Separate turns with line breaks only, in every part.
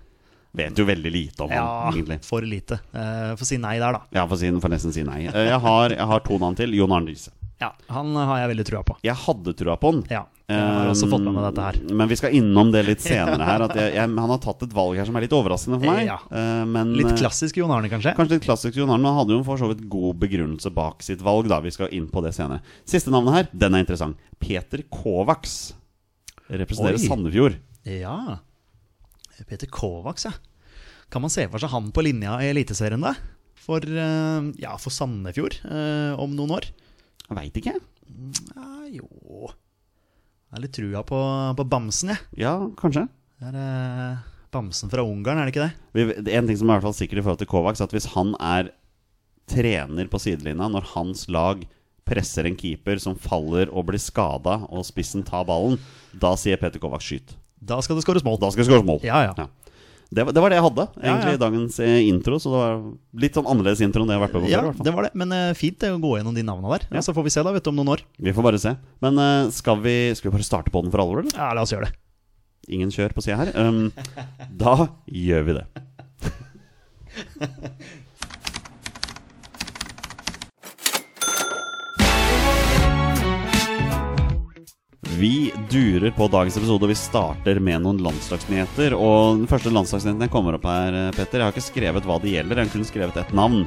Vet jo veldig lite om
ja,
han, egentlig.
for lite. Eh, Få si nei der, da.
Ja, får, si, får nesten si nei. Eh, Jeg har, jeg har to navn til. Jon Arne Riise.
Ja, Han har jeg veldig trua på.
Jeg hadde trua på han.
Ja, jeg har også
Eh,
fått med meg dette her.
Men vi skal innom det litt senere her. At jeg, jeg, han har tatt et valg her som er litt overraskende for meg.
Ja.
Eh, Men,
Litt
eh,
klassisk Jon Arne, kanskje?
Kanskje litt klassisk Jon Arne, men han hadde jo for så vidt god begrunnelse bak sitt valg. da, Vi skal inn på det senere. Siste navnet her, den er interessant. Peter Kovacs. Representerer
Oi.
Sandefjord.
Ja. Peter Kovacs, ja. Kan man se for seg han på linja i Eliteserien, da? For, eh, ja, for Sandefjord eh, om noen år?
Jeg veit ikke.
Ja, jo Jeg har litt trua på, på Bamsen, jeg.
Ja, kanskje.
Det er eh, Bamsen fra Ungarn, er det ikke det?
Vi, det er en ting som er i hvert fall sikkert i forhold til Kovacs, at hvis han er trener på sidelinja når hans lag presser en keeper som faller og blir skada, og spissen tar ballen, da sier Peter Kovacs 'skyt'.
Da skal det skåres mål.
Da skal det skåres mål.
Ja, ja.
Det, var- det var det jeg hadde egentlig
Ja, ja.
i dagens eh, intro, så det var litt sånn annerledes intro enn det jeg har vært med på før. i
Ja,
hvert fall.
det var det. Men eh, fint det å gå gjennom de navna der.
Ja.
Så får vi se da, vet du, om noen år.
Vi får bare se. Men eh, skal, vi, skal vi bare starte på den for alvor, eller?
Ja, la oss gjøre det.
Ingen kjør på sida her. Um, da gjør vi det. Vi durer på dagens episode, og vi starter med noen landslagsnyheter. Og Den første landslagsnyheten jeg kommer opp her, eh, Petter Jeg har ikke skrevet hva det gjelder, jeg har kun skrevet ett navn.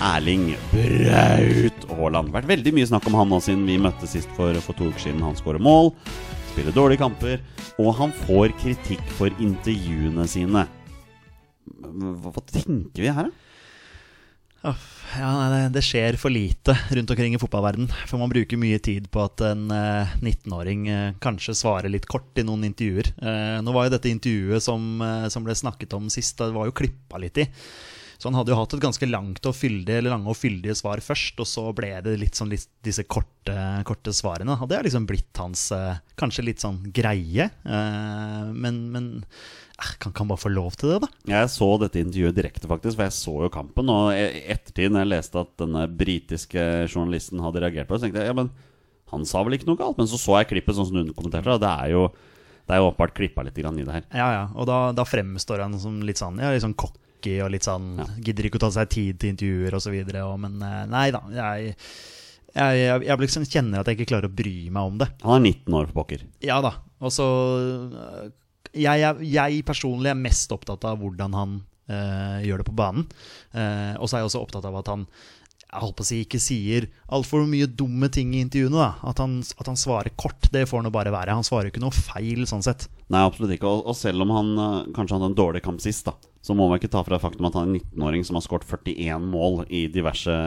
Erling Braut Haaland. Vært veldig mye snakk om han nå siden vi møttes sist for, for to uker siden. Han skårer mål, spiller dårlige kamper, og han får kritikk for intervjuene sine. Hva, hva tenker vi her, da?
Uff, Ja, nei, det, det skjer for lite rundt omkring i fotballverden For man bruker mye tid på at en eh, 19-åring eh, kanskje svarer litt kort i noen intervjuer. Eh, nå var jo dette intervjuet som, eh, som ble snakket om sist, det var jo klippa litt i. Så han hadde jo hatt et ganske langt og fyldig, eller lange og fyldige svar først, og så ble det litt sånn litt, disse korte, korte svarene. Og det har liksom blitt hans eh, kanskje litt sånn greie. Eh, men men eh, kan ikke han bare få lov til det, da?
Jeg så dette intervjuet direkte, faktisk, for jeg så jo kampen. Og e, i ettertid, når jeg leste at denne britiske journalisten hadde reagert på det, så tenkte jeg ja, men han sa vel ikke noe galt? Men så så jeg klippet sånn som du kommenterte, og det er jo det er jo åpenbart klippa litt grann i det her.
Ja, ja. Og da, da fremstår han som litt sånn Ja, litt sånn cocky og litt sånn
Ja.
Gidder ikke å ta seg tid til intervjuer og så videre. Og, men eh, nei da. Jeg, jeg, jeg, jeg liksom kjenner at jeg ikke klarer å bry meg om det.
Han er 19 år, for pokker.
Ja da. Og så øh, jeg, er- jeg personlig er mest opptatt av hvordan han øh, gjør det på banen. Eh, og så er jeg også opptatt av at han jeg holdt på å si ikke sier altfor mye dumme ting i intervjuene. da At han, at han svarer kort, det får nå bare være. Han svarer ikke noe feil, sånn sett.
Nei, absolutt ikke. Og, og selv om han eh, kanskje hadde en dårlig kamp sist, da, så må man ikke ta fra det faktum at han er en 19-åring som har skåret 41 mål i diverse,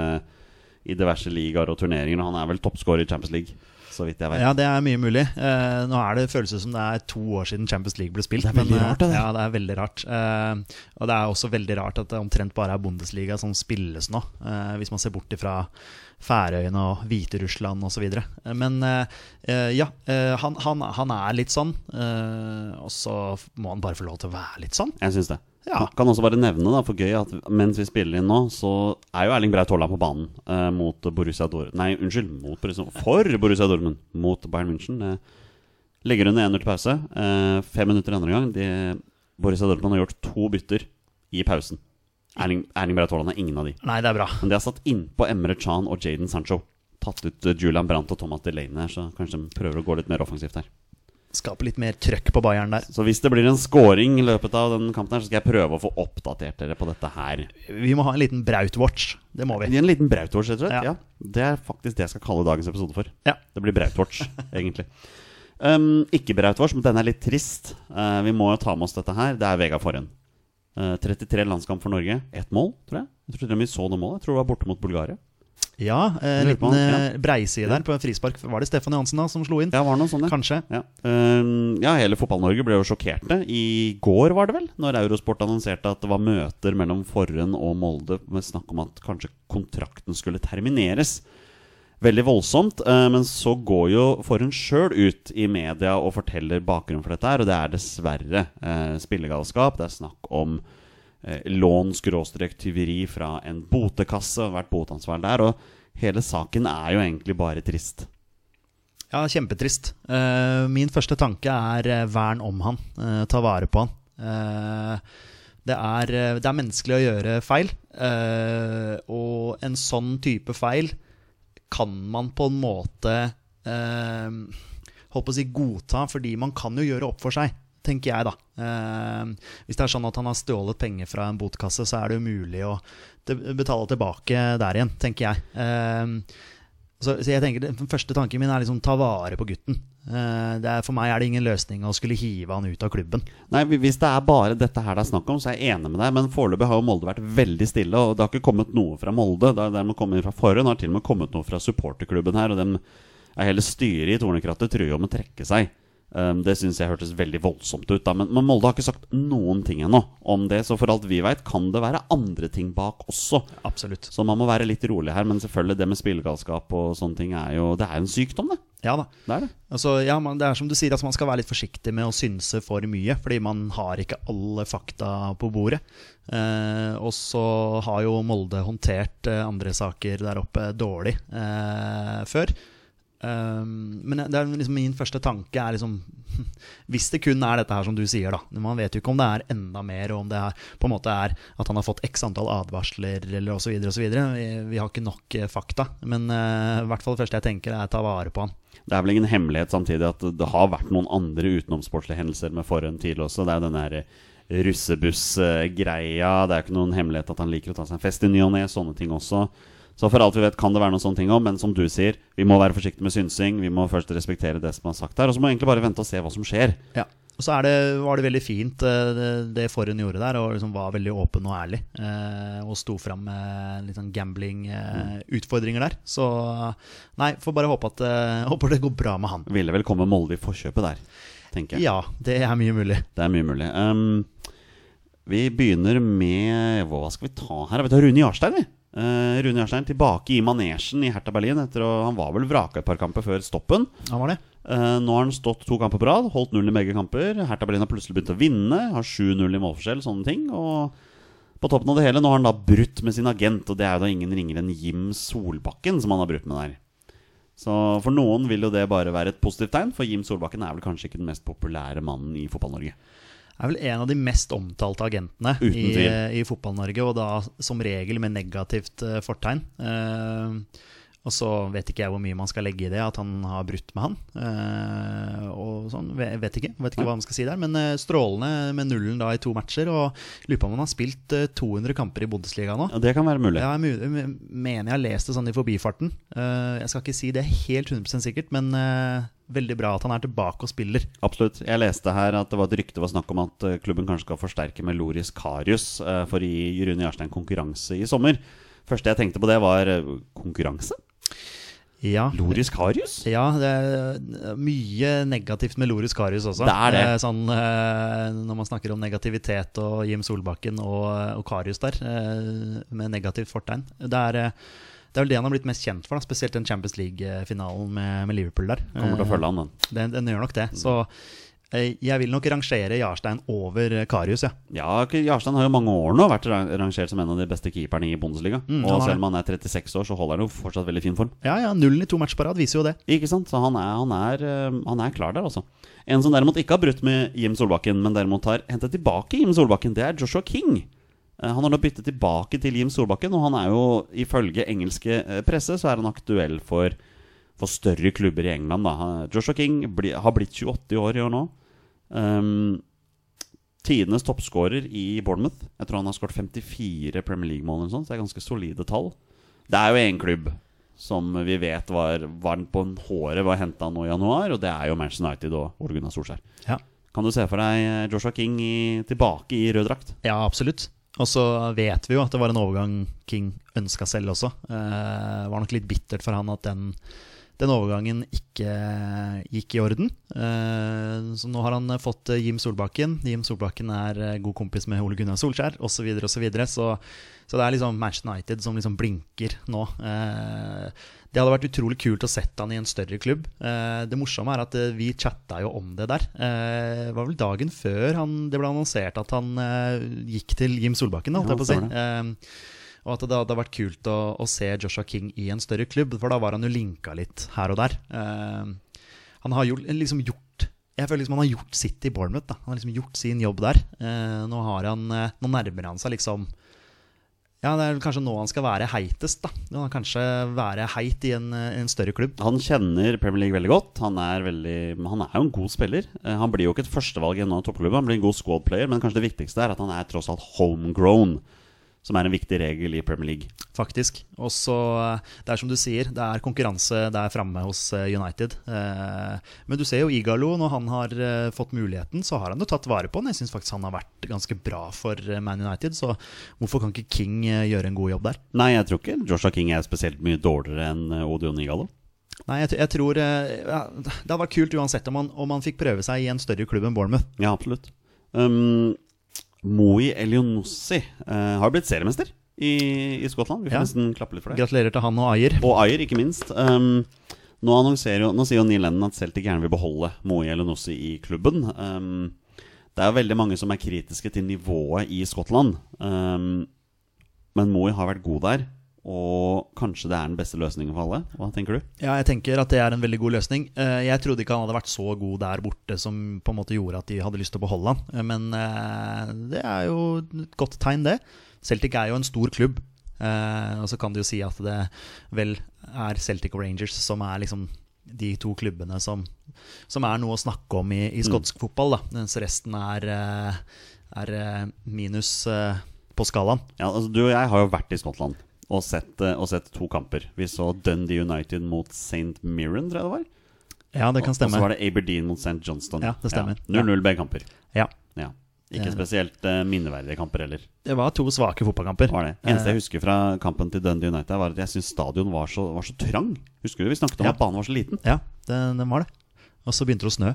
i diverse ligaer og turneringer. Og han er vel toppskårer i Champions League. så vidt jeg vet.
Ja, det er mye mulig. Eh, nå er det føles det som det er to år siden Champions League ble spilt.
Det er veldig
eh,
rart, det der.
Ja, det er veldig rart. Eh, og det er også veldig rart at det omtrent bare er Bundesliga som spilles nå, eh, hvis man ser bort ifra Færøyene og Hviterussland osv. Men eh, eh, ja, eh, han, han, han er litt sånn. eh, og så må han bare få lov til å være litt sånn.
Jeg syns det.
Ja.
Kan også bare nevne da, for gøy at mens vi spiller inn nå, så er jo Erling Braut Haaland på banen eh, mot Borussia Dortmund Nei, unnskyld, mot Borussia, for Borussia Dortmund mot Bayern München. Eh, legger under 1-0 til pause. Eh, fem minutter andre gang. De, Borussia Dortmund har gjort to bytter i pausen. Erling, Erling Braut Haaland er ingen av de.
Nei, det er bra.
Men de har satt innpå Emre Chan og Jaden Sancho. Tatt ut eh, Julian Brandt og Thomas Delaney her, så kanskje de prøver å gå litt mer offensivt her.
Skape litt mer trøkk på Bayern der.
Så hvis det blir en scoring i løpet av den kampen her, så skal jeg prøve å få oppdatert dere på dette her.
Vi må ha en liten Braut-watch. Det må vi.
Gi en liten Brautwatch, rett og slett.
Ja.
Ja. Det er faktisk det jeg skal kalle dagens episode for.
Ja.
Det blir Brautwatch, egentlig. Um, ikke Brautwatch, men den er litt trist. Eh, vi må jo ta med oss dette her. Det er Vegard Forhen. Eh, 33 landskamp for Norge. Ett mål, tror jeg. Jeg tror til og med vi så det målet. Jeg tror det var borte mot Bulgaria.
Ja, en
Lurer på
liten
han,
eh, breiside der på en frispark. Var det Stefan Johansen da som slo inn?
Ja, var det noe sånt, ja.
Kanskje.
Ja. Um, ja, hele Fotball-Norge ble jo sjokkerte. I går var det vel, når Eurosport annonserte at det var møter mellom Forhen og Molde med snakk om at kanskje kontrakten skulle termineres. Veldig voldsomt, eh, men så går jo Forhen sjøl ut i media og forteller bakgrunnen for dette her, og det er dessverre eh, spillegalskap. Det er snakk om eh, lån-tyveri fra en botekasse, og vært botansvarlig der, og hele saken er jo egentlig bare trist.
Ja, kjempetrist. Eh, min første tanke er eh, vern om han. eh, ta vare på han. Eh, det, er, eh, det er menneskelig å gjøre feil, eh, og en sånn type feil kan man på en måte eh, holdt på å si godta, fordi man kan jo gjøre opp for seg, tenker jeg da. Eh, hvis det er sånn at han har stjålet penger fra en botkasse, så er det umulig å te- betale tilbake der igjen, tenker jeg. Eh, så, så jeg tenker, det- Den første tanken min er liksom ta vare på gutten. Eh, det er, for meg er det ingen løsning å skulle hive han ut av klubben.
Nei, Hvis det er bare dette her det er snakk om, så er jeg enig med deg. Men foreløpig har jo Molde vært veldig stille, og det har ikke kommet noe fra Molde. Det har dermed kommet fra Forhånd, det har til og med kommet noe fra supporterklubben her. Og dem er hele styret i Tornekrattet truer jo med å trekke seg. Um, det syns jeg hørtes veldig voldsomt ut, da. Men, men Molde har ikke sagt noen ting ennå om det. Så for alt vi veit, kan det være andre ting bak også.
Absolutt.
Så man må være litt rolig her. Men selvfølgelig, det med spillegalskap og sånne ting er jo Det er jo en sykdom, det.
Ja da.
Det er det.
Altså, ja, man, det er som du sier, altså, man skal være litt forsiktig med å synse for mye, fordi man har ikke alle fakta på bordet. Eh, og så har jo Molde håndtert eh, andre saker der oppe dårlig eh, før. Eh, men det er liksom min første tanke er liksom Hvis det kun er dette her som du sier, da. Man vet jo ikke om det er enda mer, og om det er, på en måte er at han har fått x antall advarsler eller osv. osv. Vi, vi har ikke nok eh, fakta. Men eh, i hvert fall det første jeg tenker, er ta vare på han.
Det er vel ingen hemmelighet samtidig at det har vært noen andre utenomsportslige hendelser med Forhen tidligere også. Det er jo den der russebuss-greia. Det er jo ikke noen hemmelighet at han liker å ta seg en fest i ny og ne. Sånne ting også. Så for alt vi vet kan det være noen sånne ting òg, men som du sier, vi må være forsiktige med synsing. Vi må først respektere det som er sagt her, og så må vi egentlig bare vente og se hva som skjer.
Ja. Og så er det, var det veldig fint eh, det, det Forhund gjorde der, og liksom var veldig åpen og ærlig. eh, Og sto fram med litt sånn gambling-utfordringer der. Så nei, får bare håpe at eh, håper det går bra med han.
Ville vel komme Molde i forkjøpet der, tenker jeg.
Ja, det er mye mulig.
Det er mye mulig. Ehm, vi begynner med Hva skal vi ta her? Vi tar Rune Jarstein, vi. Eh, Rune Jarstein tilbake i manesjen i Hertha Berlin. Etter å, han var vel vraka et par kamper før stoppen.
Han var det.
Eh, nå har han stått to kamper på rad, holdt null i begge kamper. Hertha Berlin har plutselig begynt å vinne, har 7-0 i målforskjell, sånne ting. Og på toppen av det hele, nå har han da brutt med sin agent, og det er jo da ingen ringere enn Jim Solbakken som han har brutt med der. Så for noen vil jo det bare være et positivt tegn, for Jim Solbakken er vel kanskje ikke den mest populære mannen i Fotball-Norge.
Er vel en av de mest omtalte agentene
Uten
i,
tvil.
i Fotball-Norge, og da som regel med negativt eh, fortegn. Eh, og så vet ikke jeg hvor mye man skal legge i det, at han har brutt med han. Eh, og sånn, ve- vet ikke, vet ikke hva man skal si der. Men eh, strålende med nullen da i to matcher. Og lurer på om han har spilt eh, 200 kamper i Bundesliga nå.
Ja, det kan være mulig.
Ja, jeg mu- m- mener jeg har lest det sånn i forbifarten. Eh, jeg skal ikke si det helt 100 sikkert, men eh, veldig bra at han er tilbake og spiller.
Absolutt. Jeg leste her at det var et rykte det var snakk om at eh, klubben kanskje skal forsterke med Loris Karius eh, for å gi Rune Jarstein konkurranse i sommer. Første jeg tenkte på det, var eh, konkurranse.
Ja.
Loris Karius?
Ja, det er mye negativt med Loris Karius også.
Det er det.
Eh, Sånn, eh, når man snakker om negativitet og Jim Solbakken og, og Karius der, eh, med negativt fortegn. Det er, eh, det er vel det han har blitt mest kjent for, da, spesielt den Champions League-finalen med, med Liverpool der.
Kommer til å
Eh,
følge han, Mm. den.
Den, den gjør nok det. Så eh, jeg vil nok rangere Jarstein over eh, Karius, ja.
Ja, Jarstein har jo mange år nå vært ra- rangert som en av de beste keeperne i Bundesliga.
Mm, han
og
har det.
selv om han er 36 år, så holder han jo fortsatt veldig fin form.
Ja, ja, nullen i to matcher på rad viser jo det.
Ikke sant? Så han er, han, er, eh, han er klar der, altså. En som derimot ikke har brutt med Jim Solbakken, men derimot har hentet tilbake Jim Solbakken, det er Joshua King. Eh, Han har nå byttet tilbake til Jim Solbakken, og han er jo ifølge engelske eh, presse så er han aktuell for, for større klubber i England. Da. Han- Joshua King bli, har blitt 28 i år i år nå. Um, Tidenes toppskårer i Bournemouth. Jeg tror han har skåret 54 Premier League-mål, eller noe sånt, så det er ganske solide tall. Det er jo én klubb som vi vet var varm på en håret var henta nå i januar, og det er jo Manchester United og Ole Gunnar Solskjær.
Ja.
Kan du se for deg eh, Joshua King i, tilbake i rød drakt?
Ja, absolutt. Og så vet vi jo at det var en overgang King ønska selv også. Eh, var nok litt bittert for han at den, den overgangen ikke gikk i orden. Eh, så nå har han fått eh, Jim Solbakken. Jim Solbakken er eh, god kompis med Ole Gunnar Solskjær osv. Så, videre, og så, videre. så så det er liksom Manchester United som liksom blinker nå. Eh, det hadde vært utrolig kult å sett han i en større klubb. Eh, det morsomme er at eh, vi chatta jo om det der. Eh, det var vel dagen før han, det ble annonsert at han eh, gikk til Jim Solbakken, da, holdt
Ja,
jeg på å si. Eh, og at det hadde vært kult å, å se Joshua King i en større klubb, for da var han jo linka litt her og der. Eh, han har jo liksom gjort Jeg føler liksom han har gjort sitt i Bournemouth. Da. Han har liksom gjort sin jobb der. Eh, nå, har han, eh, nå nærmer han seg liksom ja, det er vel kanskje nå han skal være heitest, da. Han kan kanskje være heit i en, eh, en større klubb.
Han kjenner Premier League veldig godt. Han er, veldig, han er jo en god spiller. Eh, Han blir jo ikke et førstevalg i en annen toppklubb, han blir en god squad player, men kanskje det viktigste er at han er tross alt homegrown, som er en viktig regel i Premier League.
faktisk. Og så eh, Det er som du sier, det er konkurranse der framme hos eh, United. Eh, Men du ser jo Igalo, når han har eh, fått muligheten, så har han jo tatt vare på den. Jeg syns faktisk han har vært ganske bra for eh, Man United, så hvorfor kan ikke King eh, gjøre en god jobb der?
Nei, jeg tror ikke Joshua King er spesielt mye dårligere enn eh, Odion Igalo.
Nei, jeg, t- jeg tror eh, ja, Det hadde vært kult uansett om han, om han fikk prøve seg i en større klubb enn Bournemouth.
Ja, absolutt. Um, Moi Elionossi eh, har blitt seriemester i, i Skottland. Vi får
Ja.
nesten klappe litt for det.
Gratulerer til han og Ayer.
Og Ayer, ikke minst. Um, nå, annonserer jo, nå sier jo Neil Lennon at Celtic gjerne vil beholde Moe Elenossi i klubben. Um, det er jo veldig mange som er kritiske til nivået i Skottland. Um, men Moe har vært god der, og kanskje det er den beste løsningen for alle. Hva tenker du?
Ja, jeg tenker at det er en veldig god løsning. Eh, Jeg trodde ikke han hadde vært så god der borte som på en måte gjorde at de hadde lyst til å beholde han. Eh, Men eh, det er jo et godt tegn, det. Celtic er jo en stor klubb. Eh, Og så kan du jo si at det vel er Celtic og Rangers som er liksom de to klubbene som, som er noe å snakke om i, i skotsk fotball, da. Mens resten er, eh, er eh, minus eh, på skalaen.
Ja, altså, du og jeg har jo vært i Skottland og sett, eh, og sett to kamper. Vi så Dundee United mot St. Mirren, tror jeg det var.
Ja, det kan
Og så
stemme.
var det Aberdeen mot St. Johnston.
Ja, det stemmer.
0-0 begge kamper.
Ja.
Ja. Ikke
Eh.
spesielt eh, minneverdige kamper heller.
Det var to svake fotballkamper.
var det. Eneste jeg husker fra kampen til Dundee United, var at jeg syntes stadion var så, var så trang. Husker du vi snakket om
Ja.
at banen var så liten?
Ja, den, den var det. Og så begynte det å snø.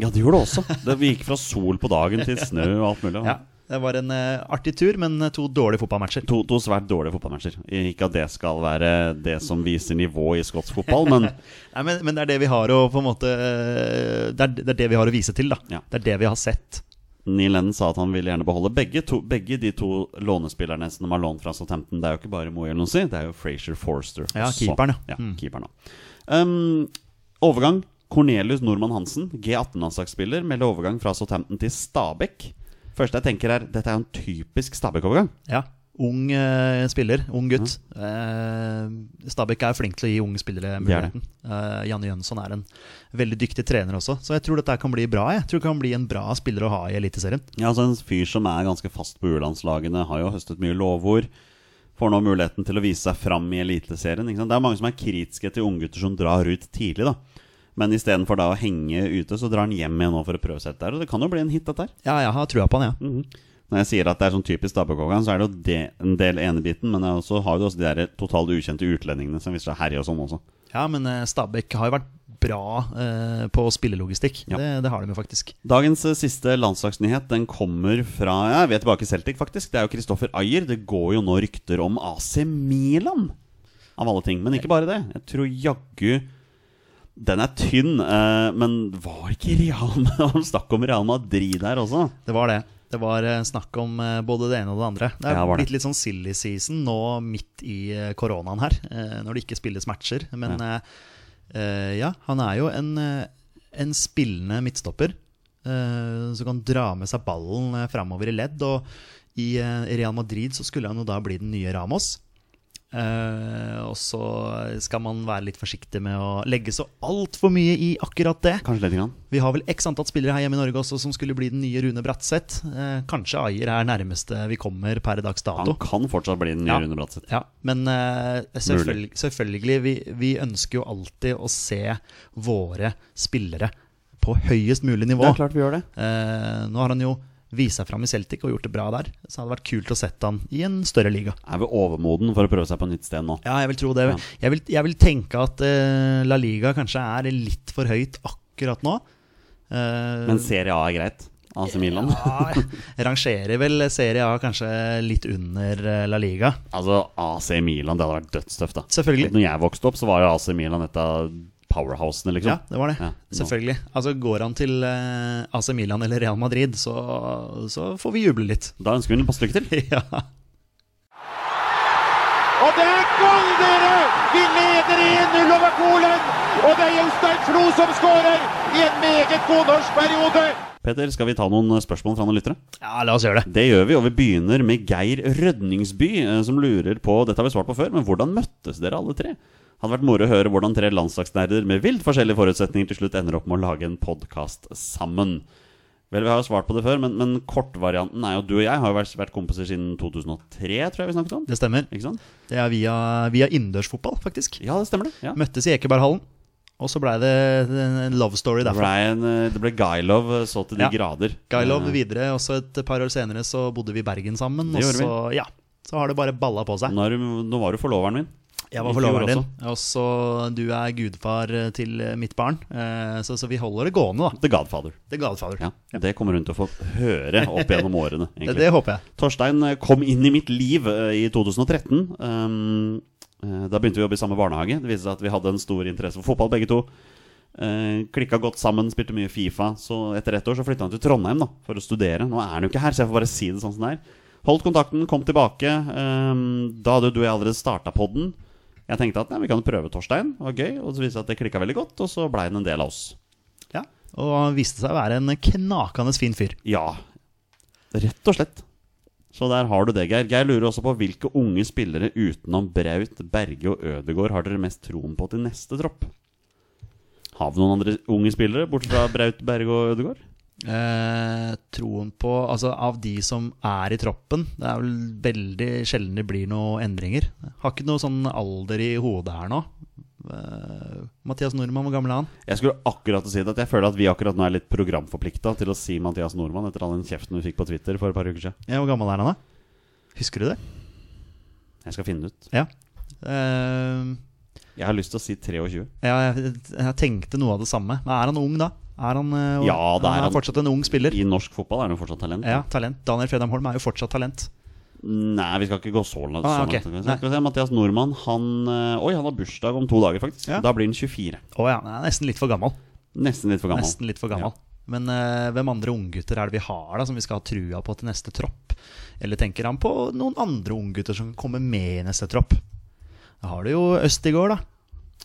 Ja, det gjorde det også. Det, vi gikk fra sol på dagen til snø og alt mulig.
Ja, Det var en eh, artig tur, men to dårlige fotballmatcher.
To, to svært dårlige fotballmatcher. Ikke at det skal være det som viser nivå i skotsk fotball, men
Nei, men, men det er det vi har å på en måte eh, det er, det er det vi har å vise til, da.
Ja.
Det er det vi har sett.
Neil Lennon sa at han ville gjerne beholde begge, to, begge de to lånespillerne som de har lånt fra Southampton. Det er jo ikke bare Moe Elonsi, det er jo Frazier Forster.
Ja,
også.
keeperen, ja. Mm.
ja. keeperen også. Um, overgang. Cornelius Normann Hansen, G18-landslagsspiller, melder overgang fra Southampton til Stabæk. Første jeg tenker er, Dette er jo en typisk Stabæk-overgang.
Ja. Ung eh, spiller, ung gutt.
Mm.
Eh, Stabæk er flink til å gi unge spillere
Det er det.
muligheten. Eh, Janne Jønsson er en veldig dyktig trener også, så jeg tror dette her kan bli bra. Jeg Jeg tror det kan bli en bra spiller å ha i Eliteserien.
Ja, altså En fyr som er ganske fast på U-landslagene, har jo høstet mye lovord. Får nå muligheten til å vise seg fram i Eliteserien. ikke sant? Det er mange som er kritiske til unggutter som drar ut tidlig, da. Men istedenfor da å henge ute, så drar han hjem igjen nå for å prøve seg der. Og det kan jo bli en hit, dette her.
Ja, jeg har trua på han, ja.
Mhm. Når jeg sier at det er sånn typisk Stabæk-Håkan, så er det jo det, en del enebiten, men det er også, har jo også de der totalt ukjente utlendingene som viser seg å herje og sånn også.
Ja, men eh, Stabæk har jo vært bra eh, på spillelogistikk.
Ja.
Det, det har de jo faktisk.
Dagens eh, siste landslagsnyhet den kommer fra ja, jeg vet tilbake til Celtic, faktisk. Det er jo Kristoffer Ayer. Det går jo nå rykter om AC Milan, av alle ting. Men ikke bare det. Jeg tror jaggu Den er tynn, eh, men var ikke Real Han snakk om Real Madrid der også?
Det var det. Det var eh, snakk om eh, både det ene og det andre. Det er
Ja, var det.
blitt litt sånn silly season nå midt i eh, koronaen her, eh, når det ikke spilles matcher. Men ja, ja han er jo en, eh, en spillende midtstopper eh, som kan dra med seg ballen eh, framover i ledd. Og i eh, Real Madrid så skulle han jo da bli den nye Ramos. Eh, og så skal man være litt forsiktig med å legge så altfor mye i akkurat det.
Kanskje lite grann.
Vi har vel x antall spillere her hjemme i Norge også som skulle bli den nye Rune Bratseth. Eh, kanskje Ayer er nærmeste vi kommer per dags
Han
dato.
kan fortsatt bli den nye
Ja.
Rune Bratseth.
Ja, men eh, selvfølgelig, selvfølgelig vi, vi ønsker jo alltid å se våre spillere på høyest mulig nivå.
klart vi gjør det.
Eh, nå har han jo vist seg fram i Celtic og gjort det bra der, så hadde det vært kult å sette han i en større liga.
Er vi overmoden for å prøve seg på nytt sted nå?
Ja, jeg vil tro det.
Ja.
Jeg, vil, jeg vil tenke at eh, La Liga kanskje er litt for høyt akkurat nå. Eh,
Men Serie A er greit? AC Milan?
Ja, rangerer vel Serie A kanskje litt under eh, La Liga.
Altså, AC Milan, det hadde vært dødstøft, da.
Selvfølgelig.
Når jeg vokste opp, så var jo AC Milan et av powerhousene, liksom.
Ja, det var det.
Ja,
Selvfølgelig. Altså Går han til eh, AC Milan eller Real Madrid, så, så får vi juble litt.
Da ønsker vi ham passe lykke til.
ja.
Og det er gull, dere! Vi leder 1-0 over Polen! Og det er Jostein Flo som skårer i en meget god norsk periode!
Peter, skal vi ta noen eh, spørsmål fra noen lyttere?
ja, la oss gjøre det.
Det gjør vi, og vi begynner med Geir Rødningsby, eh, som lurer på Dette har vi svart på før, men hvordan møttes dere alle tre? Hadde vært moro å høre hvordan tre landslagsnerder med vilt forskjellige forutsetninger til slutt ender opp med å lage en podkast sammen. Vel, vi har jo svart på det før, men, men kortvarianten er jo Du og jeg har jo vært, vært kompiser siden 2003, tror jeg vi snakket om.
Det stemmer.
Ikke sant?
Det er via, via innendørsfotball, faktisk.
Ja, det stemmer det. Ja.
Møttes i Ekeberghallen, og så blei det en love story
Det
derfra.
ble, en, eh, det ble Guylov eh, så til de
Ja.
grader.
Guylov
Eh,
videre, og så et par år senere så bodde vi i Bergen sammen.
Det
Og
gjorde vi.
så, ja, så har det bare balla på seg.
Nå, er du, nå var du forloveren min.
Jeg var
I fjor
forloveren din, og så du er gudfar til eh, mitt barn. eh, Så, så vi holder det gående, da.
The Godfather.
The Godfather.
Ja, Det kommer hun til å få høre opp gjennom årene.
Det,
egentlig.
det håper jeg.
Torstein eh, kom inn i mitt liv eh, i 2013. Um, eh, da begynte vi å jobbe i samme barnehage. Det viste seg at vi hadde en stor interesse for fotball, begge to. Uh, klikka godt sammen, spilte mye Fifa. Så etter ett år så flytta han til Trondheim da, for å studere. Nå er han jo ikke her, så jeg får bare si det sånn som det er. Holdt kontakten, kom tilbake. Um, da hadde jo du og jeg allerede starta podden. Jeg tenkte at nei, vi kan prøve Torstein, det var gøy. Og så viste det seg at det klikka veldig godt, og så blei han en del av oss.
Ja. Og han viste seg å være en knakende fin fyr.
Ja, rett og slett. Så der har du det, Geir. Geir lurer også på hvilke unge spillere utenom Braut, Berge og Ødegaard har dere mest troen på til neste tropp? Har vi noen andre unge spillere, bortsett fra Braut, Berge og Ødegaard?
Eh, troen på Altså, av de som er i troppen Det er vel veldig sjelden det blir noen endringer. Har ikke noe sånn alder i hodet her nå. Eh, Mathias Nordmann, hvor gammel er han?
Jeg skulle akkurat til å si det, at jeg føler at vi akkurat nå er litt programforplikta til å si Mathias Nordmann etter all den kjeften vi fikk på Twitter for et par uker siden.
Ja, hvor gammel er han, da? Husker du det?
Jeg skal finne det ut.
Ja. Eh,
Jeg har lyst til å si 23.
Ja, jeg, jeg tenkte noe av det samme. Men er han ung, da? Er han, eh,
Ja, da er
han
han.
er fortsatt en ung spiller.
I norsk fotball er han jo fortsatt talent.
Ja, talent. Daniel Fredheim Holm er jo fortsatt talent.
Nei, vi skal ikke gå så langt.
Ah,
så
ok.
langt.
Nei.
Skal vi se, Mathias Nordmann han, eh, Oi, han har bursdag om to dager, faktisk.
Ja.
Da blir han 24.
Å ja, han er nesten litt for gammel.
Nesten litt for gammel.
Nesten litt for gammel. Men eh, hvem andre unggutter er det vi har da som vi skal ha trua på til neste tropp? Eller tenker han på noen andre unggutter som kan komme med i neste tropp? Da har du jo Østigård, da.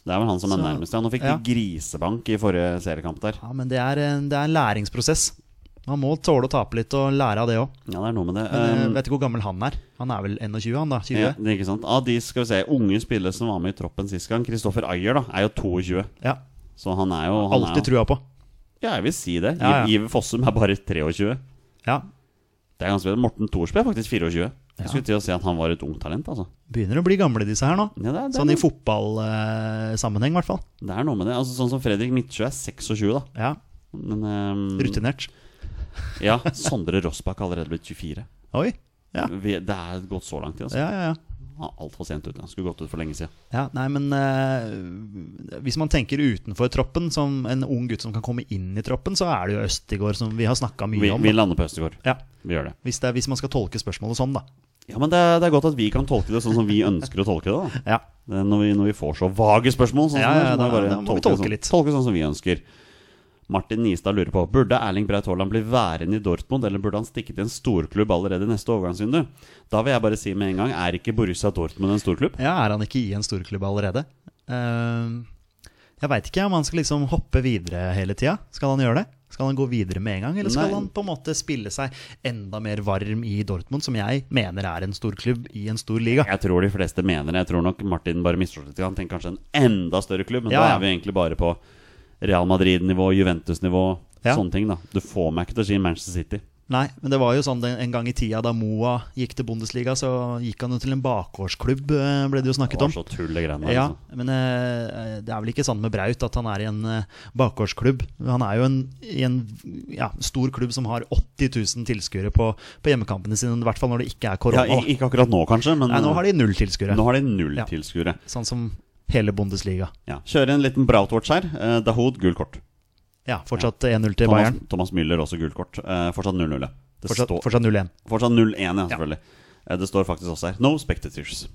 Det er vel han som er
Så-
nærmest. Ja, nå fikk
ja.
de grisebank i forrige seriekamp der.
Ja, Men det er, en- det er en læringsprosess. Man må tåle å tape litt og lære av det òg.
Ja, det er noe med det. Um,
eh, vet ikke hvor gammel han er. Han er vel 21, han da? 20?
ja, det er ikke sant. Av de skal vi se, unge spillere som var med i troppen sist gang, Kristoffer Ayer, da, er jo 22.
ja.
Så han er jo han er
Alltid
jo-
trua på.
Ja, jeg vil si det.
Ja, ja.
Iv- Iver Fossum er bare 23.
Ja,
Det er ganske bra. Morten Thorsby er faktisk 24.
Ja.
Jeg skulle til å si at han var et ungt talent, altså.
Begynner å bli gamle disse her nå.
Ja, det, er, det, er
Sånn i
noe-
fotballsammenheng, i hvert fall.
det er noe med det. Altså, sånn som Fredrik Midtsjø er 26, da.
Ja,
Men um,
rutinert.
Ja, Sondre Rossbakk har allerede blitt 24.
Oi. Ja.
Vi, det er gått så lang tid. Altså.
Ja, ja, ja.
Han er altfor sent ute. Han skulle gått ut for lenge siden.
Ja, nei, men eh, hvis man tenker utenfor troppen, som en ung gutt som kan komme inn i troppen, så er det jo Østigård som vi har snakka mye
Vi,
om.
vi
da.
lander på Østegård.
Ja,
Vi gjør det.
hvis, det er, hvis man skal tolke spørsmålet sånn, da.
Ja, men det er, det er godt at vi kan tolke det sånn som vi ønsker å tolke det. da
Ja.
Det er Når vi, når vi får så vage spørsmål, sånn som
Ja,
det er, så
ja,
må
da-
vi bare
da må vi
tolke,
tolke
sånn,
litt.
tolke sånn som vi ønsker. Martin Nistad lurer på Burde Erling Braut Haaland bli værende i Dortmund, eller burde han stikke til en storklubb allerede i neste overgangsvindu? Da vil jeg bare si med en gang, er ikke Borussia Dortmund en storklubb?
ja, er han ikke i en storklubb allerede? Eh, jeg veit ikke om han skal liksom hoppe videre hele tida. Skal han gjøre det? Skal han gå videre med en gang, eller skal
Nei.
han på en måte spille seg enda mer varm i Dortmund, som jeg mener er en storklubb i en stor liga?
Jeg tror de fleste mener det. Jeg tror nok Martin bare misforstår litt. Han tenker kanskje en enda større klubb, men
Ja,
da
ja.
er vi egentlig bare på Real Madrid-nivå, Juventus-nivå,
Ja.
sånne ting. da Du får meg ikke til å si Manchester City.
Nei, men det var jo sånn den- en gang i tida da Moa gikk til Bundesliga, så gikk han jo til en bakgårdsklubb, eh, ble det jo
Det
snakket om.
var så tull, det greiene der.
Ja,
altså.
men eh, det er vel ikke sånn med Braut at han er i en eh, bakgårdsklubb. Han er jo en, i en ja, stor klubb som har 80 000 tilskuere på, på hjemmekampene sine, i hvert fall når det ikke
Ja,
er korona.
i- ikke akkurat nå, kanskje, men
Nei, nå har de null tilskuere,
nå har de null
Ja.
tilskuere.
sånn som hele Bundesliga.
Ja. Kjøre en liten Brautwatch her. Eh, Dahoud, gult kort.
Ja, fortsatt 1-0 til
Thomas,
Bayern.
Thomas Müller, også gult kort. Eh, fortsatt 0-0. Det
Fortsatt,
står-
fortsatt 0-1.
fortsatt 0-1, ja, selvfølgelig. Eh, det står faktisk også her. No spectators.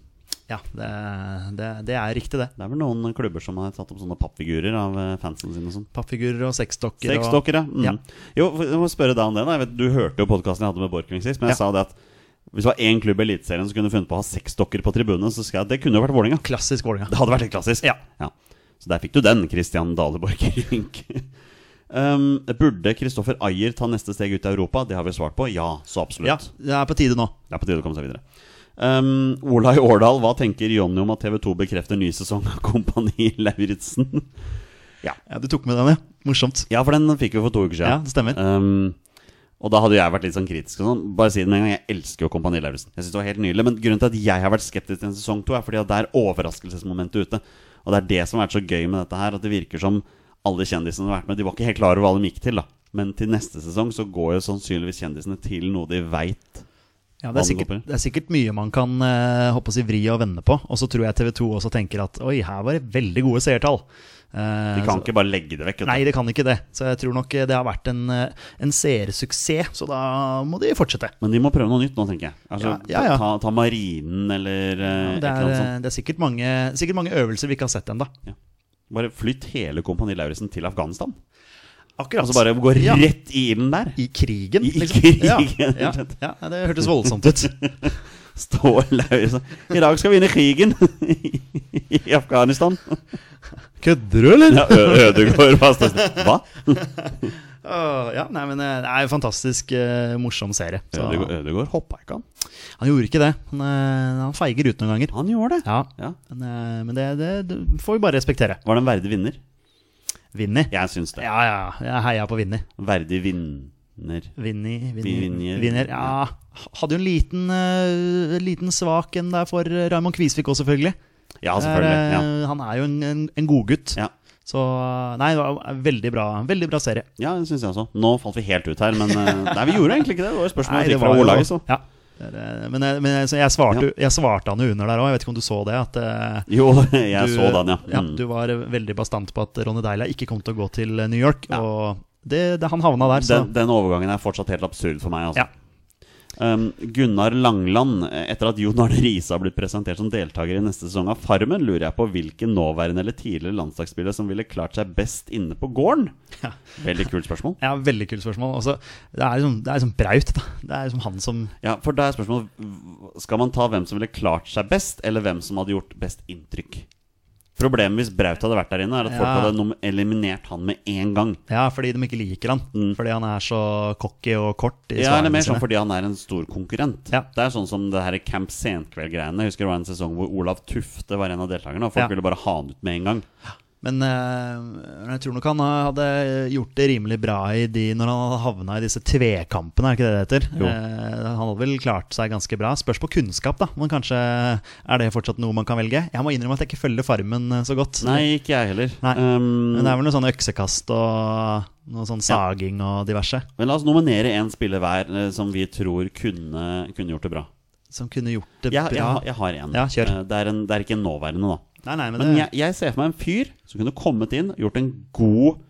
Ja, det, det, det er riktig, det.
Det er vel noen klubber som har tatt opp sånne pappfigurer av eh, fansen sin og sånn.
Pappfigurer og seksstokker. og-
Sexdokker, ja. Mm.
Ja.
Jo, for- jeg må spørre deg om det. da jeg vet, Du hørte jo podkasten jeg hadde med Borchgrevink sist, men jeg
Ja.
sa det at hvis det var én klubb i Eliteserien som kunne funnet på å ha sexdokker på tribunene, så skal jeg, det kunne jo vært Vålinga
Klassisk Vålerenga.
Det hadde vært helt klassisk. Ja. Så der fikk du den, Christian Dale Borchgrevink. um, burde Kristoffer Ayer ta neste steg ut i Europa? Det har vi svart på. Ja, så absolutt.
Ja, det er på tide nå.
Det er på tide å komme seg videre. Um, Olai Årdal, hva tenker Jonny om at TV2 bekrefter ny sesong av Kompani Lauritzen?
Ja, Du tok med den, ja. Morsomt.
Ja, for den fikk vi for to uker siden.
Ja, det stemmer.
Um, og da hadde jo jeg vært litt sånn kritisk. Og sånn. Bare si det med en gang, jeg elsker jo Kompani Lauritzen. Jeg synes det var helt nydelig. Men grunnen til at jeg har vært skeptisk til en sesong to, er fordi at det er overraskelsesmomentet ute. Og det er det som har vært så gøy med dette her, at det virker som alle kjendisene som har vært med, de var ikke helt klar over hva de gikk til, da. Men til neste sesong så går jo sannsynligvis kjendisene til noe de veit.
Ja, det er,
Hva du
sikkert,
håper?
det er sikkert mye man kan eh, håper å si, vri og vende på. Og så tror jeg TV 2 også tenker at oi, her var det veldig gode seertall. Eh,
De kan
så-
ikke bare legge det vekk. vet du.
Nei, det kan ikke det. Så jeg tror nok eh, det har vært en, eh, en seersuksess, så da må de fortsette.
Men de må prøve noe nytt nå, tenker jeg. Altså,
Ja, ja, ja.
Ta, ta Marinen eller eh, et
Det
eller
er,
annet sånt.
eh, det er sikkert, mange, sikkert mange øvelser vi ikke har sett ennå.
Bare flytt hele Kompani Lauritzen til Afghanistan.
Akkurat.
Altså bare gå
Ja.
rett i ilden der.
I krigen,
I
liksom.
krigen,
Ja,
rett og
ja, ja, det hørtes voldsomt ut.
Stå løs. I dag skal vi inn i krigen i Afghanistan.
Kødder du, eller?
Ja, Ø- Ødegaard var størst. Hva?
Åh, ja, nei, men eh, det er en fantastisk eh, morsom serie. Så,
Ødegaard, Ødegaard hoppa ikke, han.
han gjorde ikke det. Han, eh, han feiger ut noen ganger.
Han gjorde det.
Ja,
Ja.
Men, eh, men det, det, det får vi bare respektere.
Var det en verdig vinner?
Vinni.
Jeg syns det.
Ja, ja. Jeg heia på Vinni.
Verdig vinner.
Vinni, Vinni,
Vinjer.
Vinjer. Ja. Hadde jo en liten, eh, liten svak en der for eh, Raymond Kvisvik òg, selvfølgelig.
Ja, selvfølgelig. Ja.
Der, eh, Han er jo en, en, en godgutt.
Ja.
Så Nei, det var en veldig bra, veldig bra serie.
Ja, det syns jeg også. Nå falt vi helt ut her, men eh, Nei, vi gjorde egentlig ikke det. Det var jo spørsmål
Nei,
vi
det
fikk fra
var jo-
Olaget, så.
Ja. Det er, eh, Men, jeg- men jeg- så jeg, svarte, jo- jeg svarte han jo under der òg, jeg vet ikke om du så det? At eh,
Jo, jeg
du,
så den, ja. Mm.
Du var eh, veldig bastant på at Ronny Deila ikke kom til å gå til eh, New York. Og det, det, han havna der, så
Den, den overgangen er fortsatt helt absurd for meg. Altså.
Ja.
Um, Gunnar Langland, etter at Jon Arne Riise har blitt presentert som deltaker i neste sesong av Farmen, lurer jeg på hvilken nåværende eller tidligere landslagsspiller som ville klart seg best inne på gården?
Ja.
Veldig kult spørsmål.
Ja, Veldig kult spørsmål. Også, det er liksom, det er liksom Braut. Da. Det er liksom han som
Ja, for da er spørsmålet v- Skal man ta hvem som ville klart seg best, eller hvem som hadde gjort best inntrykk? Problemet hvis Braut hadde vært der inne, er at folk
Ja.
hadde nom- eliminert han med en gang.
Ja, fordi de ikke liker han.
Mm.
Fordi han er så cocky og kort.
Ja,
I
eller
svarene
mer
sine.
sånn fordi han er en stor konkurrent.
Ja.
Det er sånn som det her Camp Senkveld-greiene. Jeg husker det var en sesong hvor Olav Tufte var en av deltakerne, og folk
Ja.
ville bare ha han ut med en gang.
Men eh, jeg tror nok han hadde gjort det rimelig bra i de, når han hadde havna i disse tvekampene. er ikke det det heter?
Jo.
Eh, han hadde vel klart seg ganske bra. Spørs på kunnskap, da. Men kanskje er det fortsatt noe man kan velge? Jeg må innrømme at jeg ikke følger Farmen eh, så godt.
Nei, ikke jeg heller.
Nei.
Um,
Men det er vel noe sånn øksekast og noe sånn saging og diverse
men la oss nominere én spiller hver eh, som vi tror kunne, kunne gjort det bra.
som kunne gjort det
Jeg,
bra.
jeg, har- jeg har én.
Ja, kjør.
Eh, Det, er en- det er ikke en nåværende, da.
Nei, nei, men,
Men
det,
jeg, jeg ser for meg en fyr som kunne kommet inn, gjort en god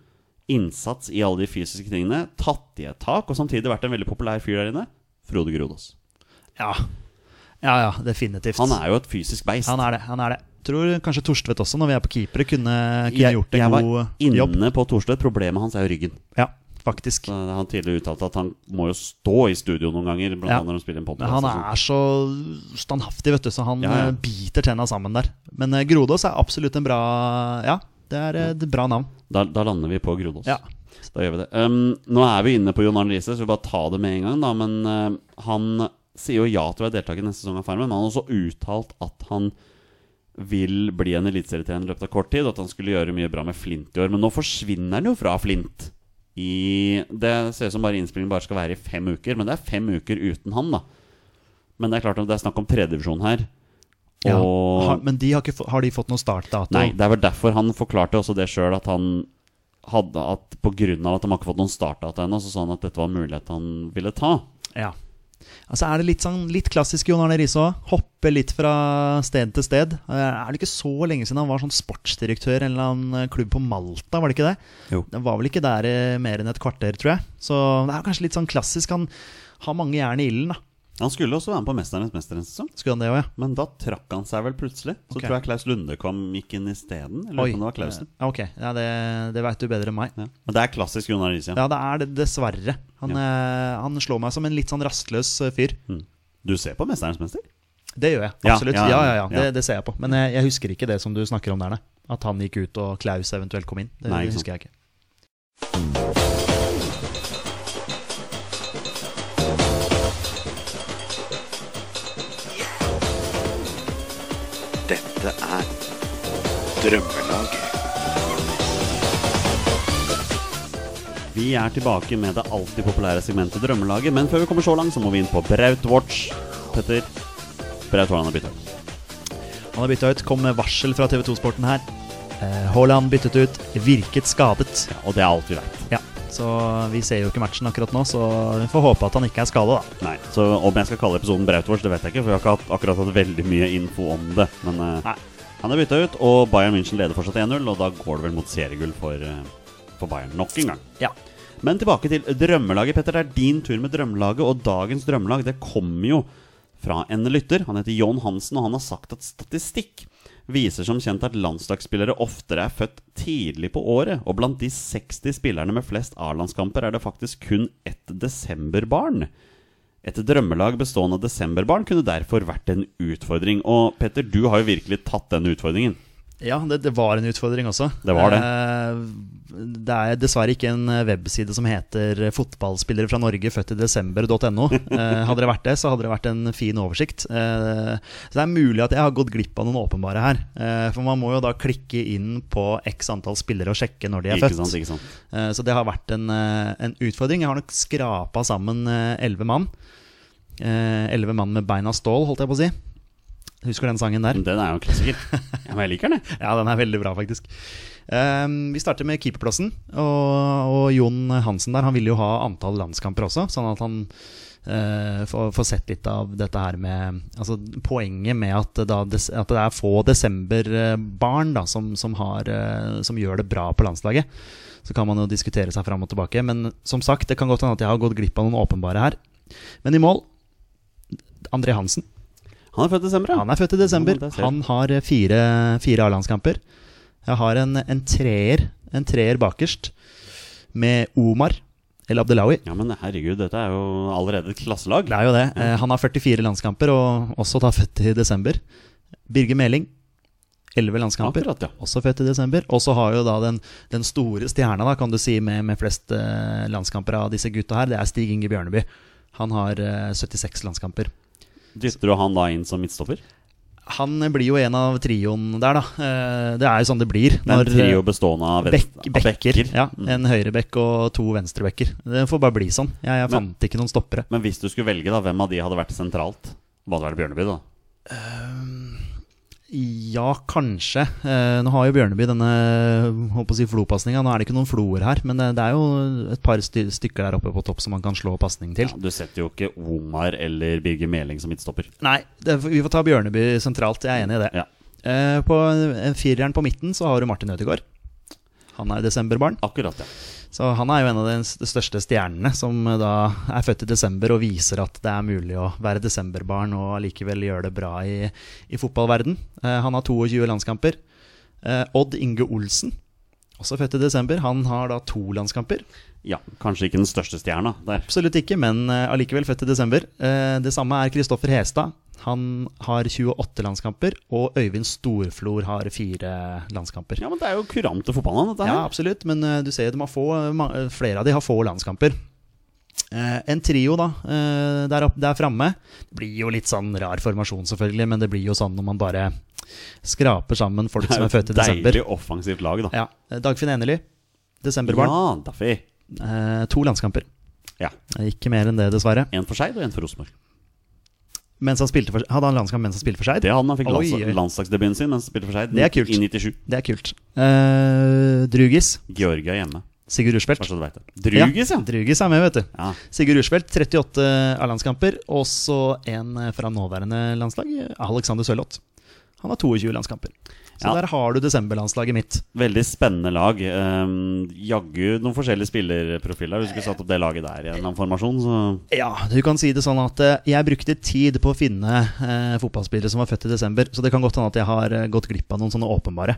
innsats i alle de fysiske tingene, tatt i et tak, og samtidig vært en veldig populær fyr der inne. Frode Grodås.
ja. ja, ja, definitivt.
Han er jo et fysisk beist.
Han er det. han er det Tror kanskje Torstvedt også, når vi er på keepere, kunne, kunne
jeg,
gjort en
jeg var
god eh,
inne
jobb.
på Thorstvedt. Problemet hans er jo ryggen.
Ja, faktisk.
Så Han tidligere uttalte at han må jo stå i studio noen ganger. Blant
Ja.
annet når han spiller en podcast,
Men han
og sånn. sånt.
er så standhaftig, vet du, så han
Ja, ja.
eh, biter tenna sammen der. Men eh, Grodås er absolutt en bra Ja, det er eh, et bra navn.
da, da lander vi på Grodås.
Ja.
Da gjør vi det. Um, nå er vi inne på John Arne Riise, så vi bare ta det med en gang. Da. Men eh, han sier jo ja til å være deltaker neste sesong av Farmen, men han har også uttalt at han vil bli en eliteserietrener i løpet av kort tid, og at han skulle gjøre mye bra med Flint i år. Men nå forsvinner han jo fra Flint. I, det ser ut som bare innspillingen bare skal være i fem uker, men det er fem uker uten han, da. Men det er klart at det er snakk om tredjedivisjon her. Og
Ja. Har, men de har, ikke, få- har de fått noen startdato?
Nei, det er vel derfor han forklarte også det sjøl, at han hadde at på grunn av at han har ikke fått noen startdata ennå, så sa han at dette var en mulighet han ville ta.
Ja. Altså er det litt, sånn, litt klassisk Jon Arne Riise òg. Hoppe litt fra sted til sted. Eh, Er det ikke så lenge siden han var sånn sportsdirektør i en eller annen eh, klubb på Malta? var Det ikke det?
Jo.
Det var vel ikke der eh, mer enn et kvarter, tror jeg. Så det er kanskje litt sånn klassisk. Han har mange jern i ilden, da.
Han skulle også være med på Mesternes mester en sesong,
Skulle han det òg, ja?
men da trakk han seg vel plutselig. Så
Ok.
tror jeg Klaus Lunde kom, gikk inn isteden. Eller
Oi.
om det var Klausen.
Ja, ok. Ja, det det veit du bedre enn meg.
Ja. Men det er klassisk Jon Arne Riise. Ja.
Ja, det er det, dessverre. Han, eh, han slår meg som en litt sånn rastløs eh, fyr.
Du ser på Mesternes mester?
Det gjør jeg.
Ja,
Absolutt.
ja,
Ja, ja,
ja.
ja. Det, det ser jeg på. Men jeg, jeg husker ikke det som du snakker om der, nei. At han gikk ut og Klaus eventuelt kom inn. Det
Nei, ikke sant.
husker jeg ikke.
Dette er Drømmelaget.
Vi er tilbake med det alltid populære segmentet Drømmelaget, men før vi kommer så langt, så må vi inn på Braut Watch. Petter, Braut Haaland har bytta ut.
Han har bytta ut. Kom med varsel fra TV 2-sporten her. Eh, Haaland byttet ut. Virket skadet.
Ja, og det er alt vi veit.
Ja. Så vi ser jo ikke matchen akkurat nå, så vi får håpe at han ikke er skada, da.
Nei, så Om jeg skal kalle episoden Brautvors, det vet jeg ikke. For jeg har ikke hatt, akkurat hatt veldig mye info om det. Men eh,
Nei.
han er bytta ut, og Bayern München leder fortsatt 1-0. Og da går det vel mot seriegull for, eh, for Bayern nok en gang.
Ja.
Men tilbake til drømmelaget. Petter, det er din tur med drømmelaget. Og dagens drømmelag det kommer jo fra en lytter. Han heter John Hansen, og han har sagt at statistikk viser som kjent at landslagsspillere oftere er født tidlig på året. Og blant de 60 spillerne med flest A-landskamper er det faktisk kun ett desemberbarn. Et drømmelag bestående av desemberbarn kunne derfor vært en utfordring. Og Petter, du har jo virkelig tatt den utfordringen.
Ja, det, det var en utfordring også.
Det var det.
Eh, det er dessverre ikke en eh, webside som heter eh, 'Fotballspillere fra Norge født i desember.no'. Eh, hadde det vært det, så hadde det vært en fin oversikt. Eh, så det er mulig at jeg har gått glipp av noen åpenbare her. Eh, for man må jo da klikke inn på x antall spillere og sjekke når de er
Ikke
født.
sant, ikke sant?
Eh, så det har vært en, eh, en utfordring. Jeg har nok skrapa sammen eh, elleve mann. Eh, Elleve mann med beina stål, holdt jeg på å si. Husker den sangen der?
Men Den er jo en klassiker. Ja, men jeg liker den, jeg.
Ja, den er veldig bra, faktisk. Ehm, vi starter med keeperplassen. Og, og Jon Hansen der, han ville jo ha antall landskamper også, sånn at han eh, får, får sett litt av dette her med Altså poenget med at, da, des, at det er få desemberbarn da, som, som, har, eh, som gjør det bra på landslaget. Så kan man jo diskutere seg fram og tilbake. Men som sagt, det kan godt hende at jeg har gått glipp av noen åpenbare her. Men i mål André Hansen.
Han er født i desember, ja.
Han er født i desember.
Ja, det ser jeg.
Han har fire, fire A-landskamper. Jeg har en, en treer En treer bakerst med Omar El Abdelawi.
Ja, men herregud, dette er jo allerede et klasselag.
Det er jo det. Eh, Han har 44 landskamper, og også da født i desember. Birger Meling. 11 landskamper,
Akkurat, ja.
også født i desember. Og så har jo da den, den store stjerna, da, kan du si, med, med flest eh, landskamper av disse gutta her, det er Stig Inge Bjørneby. Han har eh, 76 landskamper.
Dytter du han da inn som midtstopper?
han blir jo en av trioen der, da. Eh, Det er jo sånn det blir.
Det er en
når-
trio bestående av, venstre-
Bekk,
av
bekker. Ja,
Mm.
En høyrebekk og to venstrebekker. Det får bare bli sånn. Jeg,
Men-
jeg fant ikke noen stoppere.
Men hvis du skulle velge, da, hvem av de hadde vært sentralt? Måtte være Bjørneby, da.
Ja, kanskje. Eh, nå har jo Bjørneby denne håper å si, flopasninga. Nå er det ikke noen floer her, men det, det er jo et par sty stykker der oppe på topp som man kan slå pasning til.
Ja, du setter jo ikke Omar eller Birger Meling som midtstopper.
Nei, det, vi får ta Bjørneby sentralt. Jeg er enig i det.
Ja,
Eh, på eh, fireren på midten så har du Martin Ødegaard. Han er jo desemberbarn.
akkurat, ja.
Så han er jo en av de s- de største stjernene som eh, da er født i desember og viser at det er mulig å være desemberbarn og allikevel gjøre det bra i, i fotballverden. Eh, han har 22 landskamper. Eh, Odd Inge Olsen, også født i desember, han har da to landskamper.
Ja, Kanskje ikke den største stjerna der.
Absolutt ikke, men eh, allikevel født i desember. Eh, det samme er Kristoffer Hestad. Han har 28 landskamper, og Øyvind Storflor har fire landskamper.
Ja, men Det er jo kurante fotballnavn, dette
Ja,
her.
absolutt, men eh, du ser jo de har få, eh, ma- eh, flere av de har få landskamper. Eh, en trio da, eh, der, opp- der framme. Det blir jo litt sånn rar formasjon, selvfølgelig, men det blir jo sånn når man bare skraper sammen folk som er født i desember.
Deilig offensivt lag, da.
Ja, eh, Dagfinn Enerly, desemberbarn.
Ja, Daffy.
Eh, to landskamper. Eh,
Ja.
Ikke mer enn det, dessverre.
En for Skeid og en for Rosenborg.
Mens han spilte for, hadde han landskamp mens han spilte for Skeid?
Det hadde han. Han fikk
Oi,
lands
oi.
landslagsdebuten sin mens han spilte for Skeid.
Det er kult.
I 97.
Det er kult. Eh, Drugis,
Georgia hjemme,
Sigurd Rushfeldt.
bare så du veit det. Drugis, ja.
Drugis er med, vet du.
ja.
Sigurd Rushfeldt, 38 A-landskamper. Og så en fra nåværende landslag, Alexander Sørloth. Han har 22 landskamper. Så
Ja.
der har du desemberlandslaget mitt.
Veldig spennende lag. Um, Jaggu noen forskjellige spillerprofiler. Hvis du skulle satt opp det laget der i en eller annen formasjon, så
Ja, du kan si det sånn at eh, jeg brukte tid på å finne eh, fotballspillere som var født i desember, så det kan godt hende at jeg har eh, gått glipp av noen sånne åpenbare.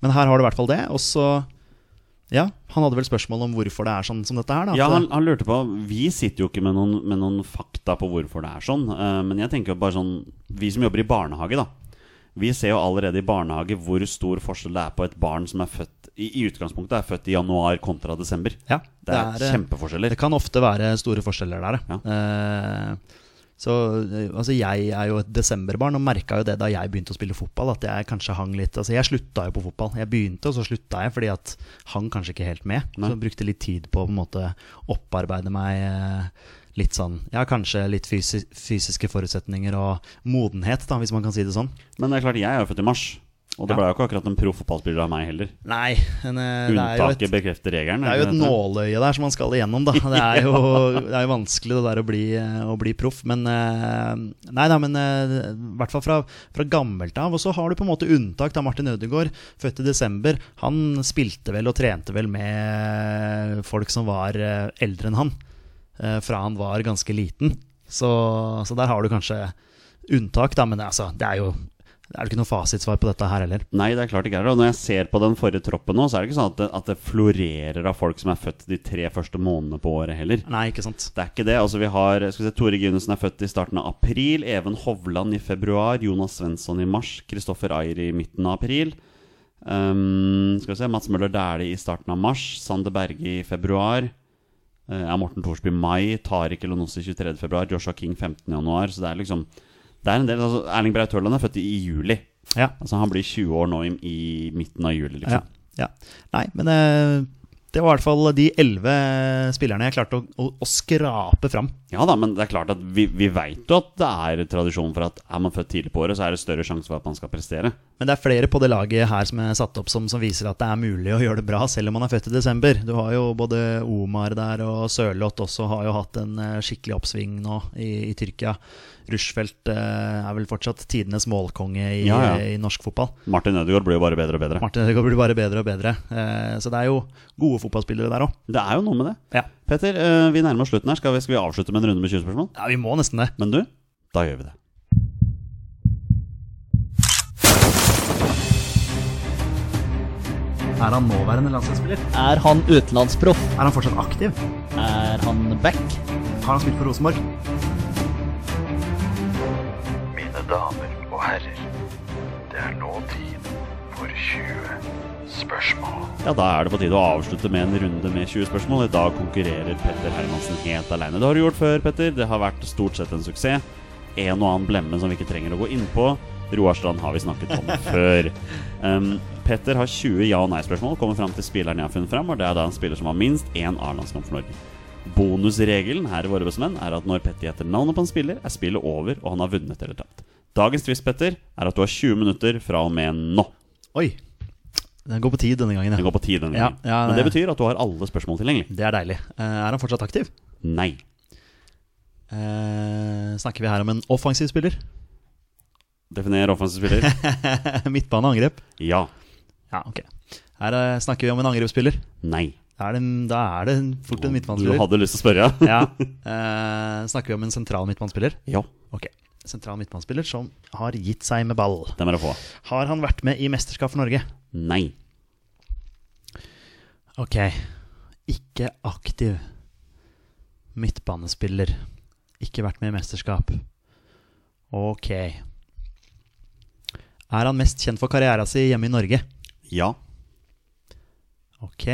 Men her har du i hvert fall det. Og så Ja, han hadde vel spørsmål om hvorfor det er sånn som dette her, da.
Ja,
At,
han, han lurte på Vi sitter jo ikke med noen, med noen fakta på hvorfor det er sånn. eh, men jeg tenker jo bare sånn Vi som jobber i barnehage, da. Vi ser jo allerede i barnehage hvor stor forskjell det er på et barn som er født i, i utgangspunktet er født i januar kontra desember.
ja,
Det er,
eh,
kjempeforskjeller.
Det kan ofte være store forskjeller der, ja. Eh, så eh, altså, jeg er jo et desemberbarn og merka jo det da jeg begynte å spille fotball, at jeg kanskje hang litt Altså, jeg slutta jo på fotball. Jeg begynte, og så slutta jeg fordi at hang kanskje ikke helt med.
Nei.
Så brukte litt tid på å på en måte opparbeide meg eh, litt sånn Ja, kanskje litt fysi fysiske forutsetninger og modenhet, da, hvis man kan si det sånn.
Men det er klart, jeg er jo født i mars. Og det
Ja.
ble jo ikke akkurat en proff fotballspiller av meg heller.
Nei, men eh, det er jo et
Unntaket bekrefter regelen.
Det er jo
ikke
et
det?
nåløye der som man skal igjennom, da. Det er jo, det er jo vanskelig det der å bli, å bli proff. Men eh, Nei da, men eh, i hvert fall fra, fra gammelt av. Og så har du på en måte unntak. da Martin Ødegaard, født i desember, han spilte vel og trente vel med folk som var eh, eldre enn han. eh, Fra han var ganske liten. Så, så der har du kanskje unntak, da. Men altså, det er jo det er jo ikke noe fasitsvar på dette her heller.
Nei, det er klart ikke er det. Og når jeg ser på den forrige troppen nå, så er det ikke sånn at det, at det florerer av folk som er født de tre første månedene på året heller.
Nei, ikke sant.
Det er ikke det. Altså, vi har skal vi se, Tore Gunesen er født i starten av april. Even Hovland i februar. Jonas Svensson i mars. Kristoffer Ayer i midten av april. Ehm, skal vi se, Mats Møller Dæhlie i starten av mars. Sander Berge i februar. Eh, er Morten Thorsby i mai. Tariq Elonossi 23. februar. Joshua King 15. januar. Så det er liksom Det er en del altså, Erling Braut Haaland er født i juli.
Ja.
Altså Han blir 20 år nå i, i midten av juli, liksom.
Ja, ja. Nei, men eh, det var i hvert fall de elleve spillerne jeg klarte å, å, å skrape fram.
Ja da, men det er klart at vi, vi veit jo at det er tradisjon for at er man født tidlig på året, så er det større sjanse for at man skal prestere.
Men det er flere på det laget her som er satt opp som, som viser at det er mulig å gjøre det bra selv om man er født i desember. Du har jo både Omar der og Sørloth også har jo hatt en eh, skikkelig oppsving nå i, i Tyrkia. Rushfeldt eh, er vel fortsatt tidenes målkonge i,
Ja, ja.
i norsk fotball.
Martin Ødegaard blir jo bare bedre og bedre.
Martin Ødegaard blir bare bedre og bedre. Eh, så det er jo gode fotballspillere der òg.
Det er jo noe med det.
Ja.
Petter, eh, vi nærmer oss slutten her. Skal vi, skal vi avslutte med en runde med 20 spørsmål?
ja, vi må nesten det.
Men du, da gjør vi det.
Er han nåværende landslagsspiller?
Er han utenlandsproff?
Er han fortsatt aktiv?
Er han back?
Har han spilt for Rosenborg?
Mine damer og herrer, det er nå tid for 20 spørsmål.
Ja, Da er det på tide å avslutte med en runde med 20 spørsmål. I dag konkurrerer Petter Hermansen helt alene. Det har du gjort før, Petter. Det har vært stort sett en suksess. En og annen blemme som vi ikke trenger å gå inn på. Roar Strand har vi snakket om før. Um, Petter har 20 ja- og nei-spørsmål, kommer fram til spilleren jeg har funnet fram, og det er da en spiller som har minst én A-landskamp for Norge. Bonusregelen her i Våre bestemenn er at når Petter gjetter navnet på en spiller, er spillet over og han har vunnet eller tapt. Dagens twist, Petter, er at du har 20 minutter fra og med nå.
Oi. Den går på tid denne gangen,
Den
ja.
går på tid denne
Ja,
gangen.
ja,
Men det
det-
betyr at du har alle spørsmål tilgjengelig.
Det er deilig. Eh, Er han fortsatt aktiv?
Nei.
Eh, snakker vi her om en offensiv spiller?
Definer offensiv spiller.
Midtbane og angrep?
Ja.
Ja, ok. Her eh, snakker vi om en angrepsspiller.
Nei.
Da er det, da er det fort en
Du
midtbanespiller.
hadde lyst til å spørre, ja?
Ja. Eh, snakker vi om en sentral midtbanespiller?
Ja.
Ok. Sentral midtbanespiller som har gitt seg med ball.
Den må du få.
Har han vært med i mesterskap for Norge?
Nei.
Ok. Ikke aktiv. Midtbanespiller. Ikke vært med i mesterskap. Ok. Er han mest kjent for karriera si hjemme i Norge?
Ja.
Ok.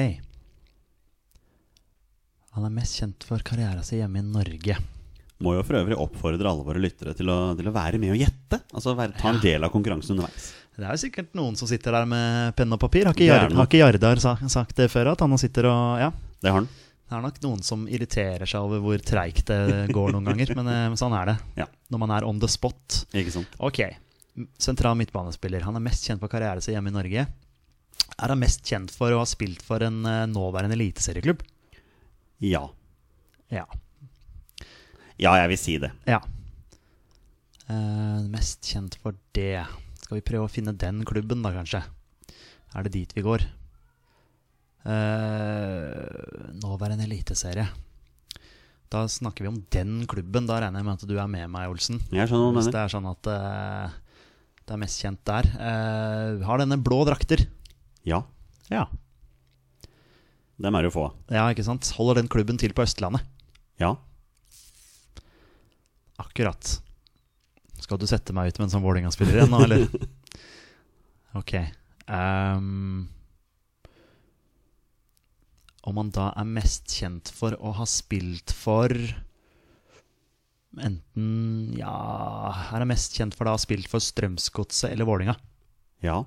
Han er mest kjent for karriera si hjemme i Norge.
Må jo for øvrig oppfordre alle våre lyttere til å, til å være med og gjette. Altså være, ta en del av konkurransen underveis.
Det er jo sikkert noen som sitter der med penn og papir. Har ikke,
Det er
Jard,
det.
har ikke Jardar sa- sagt det før? At han nå sitter og Ja.
Det har den.
Det er nok noen som irriterer seg over hvor treigt det går noen ganger. Men eh, sånn er det
Ja.
når man er on the spot.
Ikke sant?
Ok. Sentral midtbanespiller. Han er mest kjent for karrieren sin hjemme i Norge. Er han mest kjent for å ha spilt for en eh, nåværende eliteserieklubb?
Ja.
Ja.
Ja, jeg vil si det.
ja. Eh, mest kjent for det Skal vi prøve å finne den klubben, da, kanskje? Er det dit vi går? Eh, nåværende eliteserie. Da snakker vi om den klubben. Da regner jeg med at du er med meg, Olsen.
Jeg skjønner hva
Hvis
du
det
mener.
er sånn at eh, det er mest kjent der. Eh, har denne blå drakter.
Ja.
Ja.
Dem er det jo få av.
ja, ikke sant? Holder den klubben til på Østlandet?
Ja.
Akkurat. Skal du sette meg ut med en sånn Vålerenga-spiller igjen nå, eller? Ok. ehm. om han da er mest kjent for å ha spilt for Enten Ja Er han mest kjent for da å ha spilt for Strømsgodset eller Vålerenga?
Ja.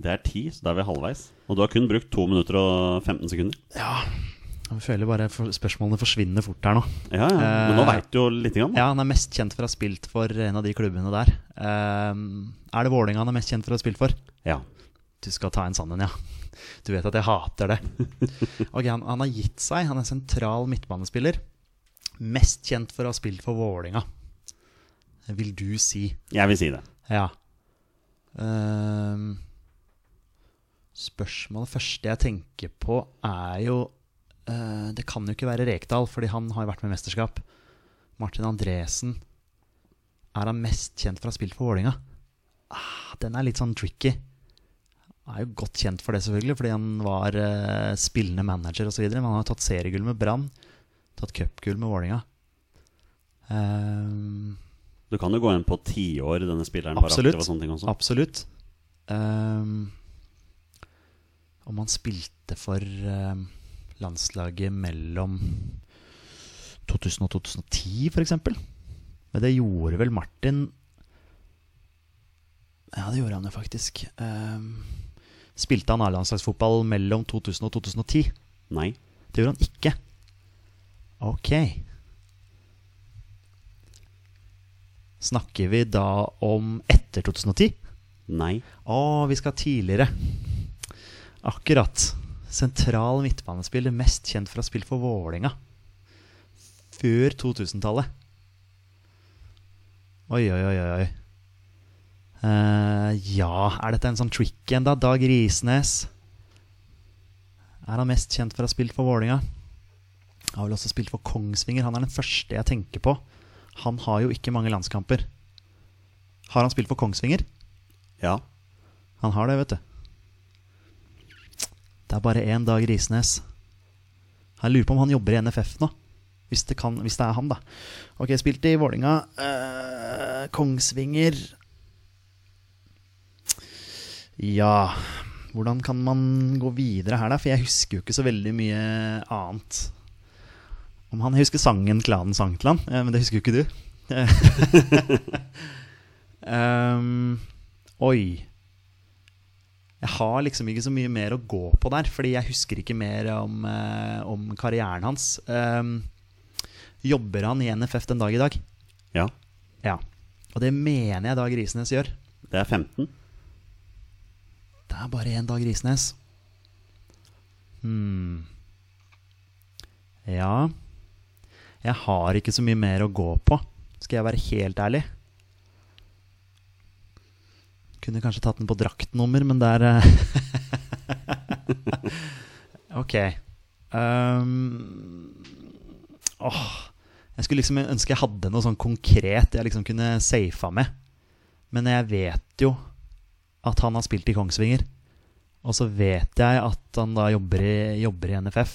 Det er ti, så da er vi halvveis. Og du har kun brukt 2 minutter og 15 sekunder.
Jeg føler bare for, spørsmålene forsvinner fort her nå.
Ja, ja. Men nå
Eh,
veit du jo lite grann. da.
Ja, han er mest kjent for å ha spilt for en av de klubbene der. Ehm, er det Vålerenga han er mest kjent for å ha spilt for?
Ja.
Du skal ta en sann en, ja. Du vet at jeg hater det. Ok, han, han har gitt seg. Han er sentral midtbanespiller. Mest kjent for å ha spilt for Vålerenga, vil du si.
Jeg vil si det.
Ja. Ehm, spørsmålet første jeg tenker på, er jo eh, Det kan jo ikke være Rekdal, fordi han har jo vært med i mesterskap. Martin Andresen. Er han mest kjent for å ha spilt for Vålinga? Ah, den er litt sånn tricky. Han er jo godt kjent for det, selvfølgelig, fordi han var eh, spillende manager osv. Men han har tatt seriegull med Brann, tatt cupgull med Vålinga. Um,
Du kan jo gå inn på tiår denne spilleren
Absolutt.
var aktiv og sånne ting også.
Absolutt. Ehm, om han spilte for ehm, landslaget mellom 2000 og 2010, f.eks. Men det gjorde vel Martin Ja, det gjorde han jo faktisk. Ehm, spilte han A-landslagsfotball mellom 2000 og 2010?
Nei.
Det gjorde han ikke. Ok. Snakker vi da om etter 2010?
Nei.
Å, vi skal tidligere. Akkurat. Sentral midtbanespiller, mest kjent for å ha spilt for Vålinga. Før 2000-tallet. Oi, oi, oi, oi. oi. Eh, ja, er dette en sånn trick en, da? Dag Risnes. Er han mest kjent for å ha spilt for Vålinga? Har vel også spilt for Kongsvinger. Han er den første jeg tenker på. Han har jo ikke mange landskamper. Har han spilt for Kongsvinger?
Ja.
Han har det, vet du. Det er bare én dag Risnes. Jeg lurer på om han jobber i NFF nå. Hvis det, kan, hvis det er han, da. Ok, spilte i Vålinga. Eh, Kongsvinger Ja Hvordan kan man gå videre her, da? For jeg husker jo ikke så veldig mye annet. Om han jeg husker sangen 'Klanen sang til han', eh, men det husker jo ikke du. Ehm, oi. Jeg har liksom ikke så mye mer å gå på der, fordi jeg husker ikke mer om, eh, om karrieren hans. Ehm, jobber han i NFF den dag i dag?
Ja.
Ja. Og det mener jeg Dag Risnes gjør.
Det er 15.
Det er bare én Dag Risnes. Hmm. Ja Jeg har ikke så mye mer å gå på, skal jeg være helt ærlig. Kunne kanskje tatt den på draktnummer, men det er eh, Ok. Um, åh, jeg skulle liksom ønske jeg hadde noe sånn konkret jeg liksom kunne safa med. Men jeg vet jo at han har spilt i Kongsvinger. Og så vet jeg at han da jobber i, jobber i NFF.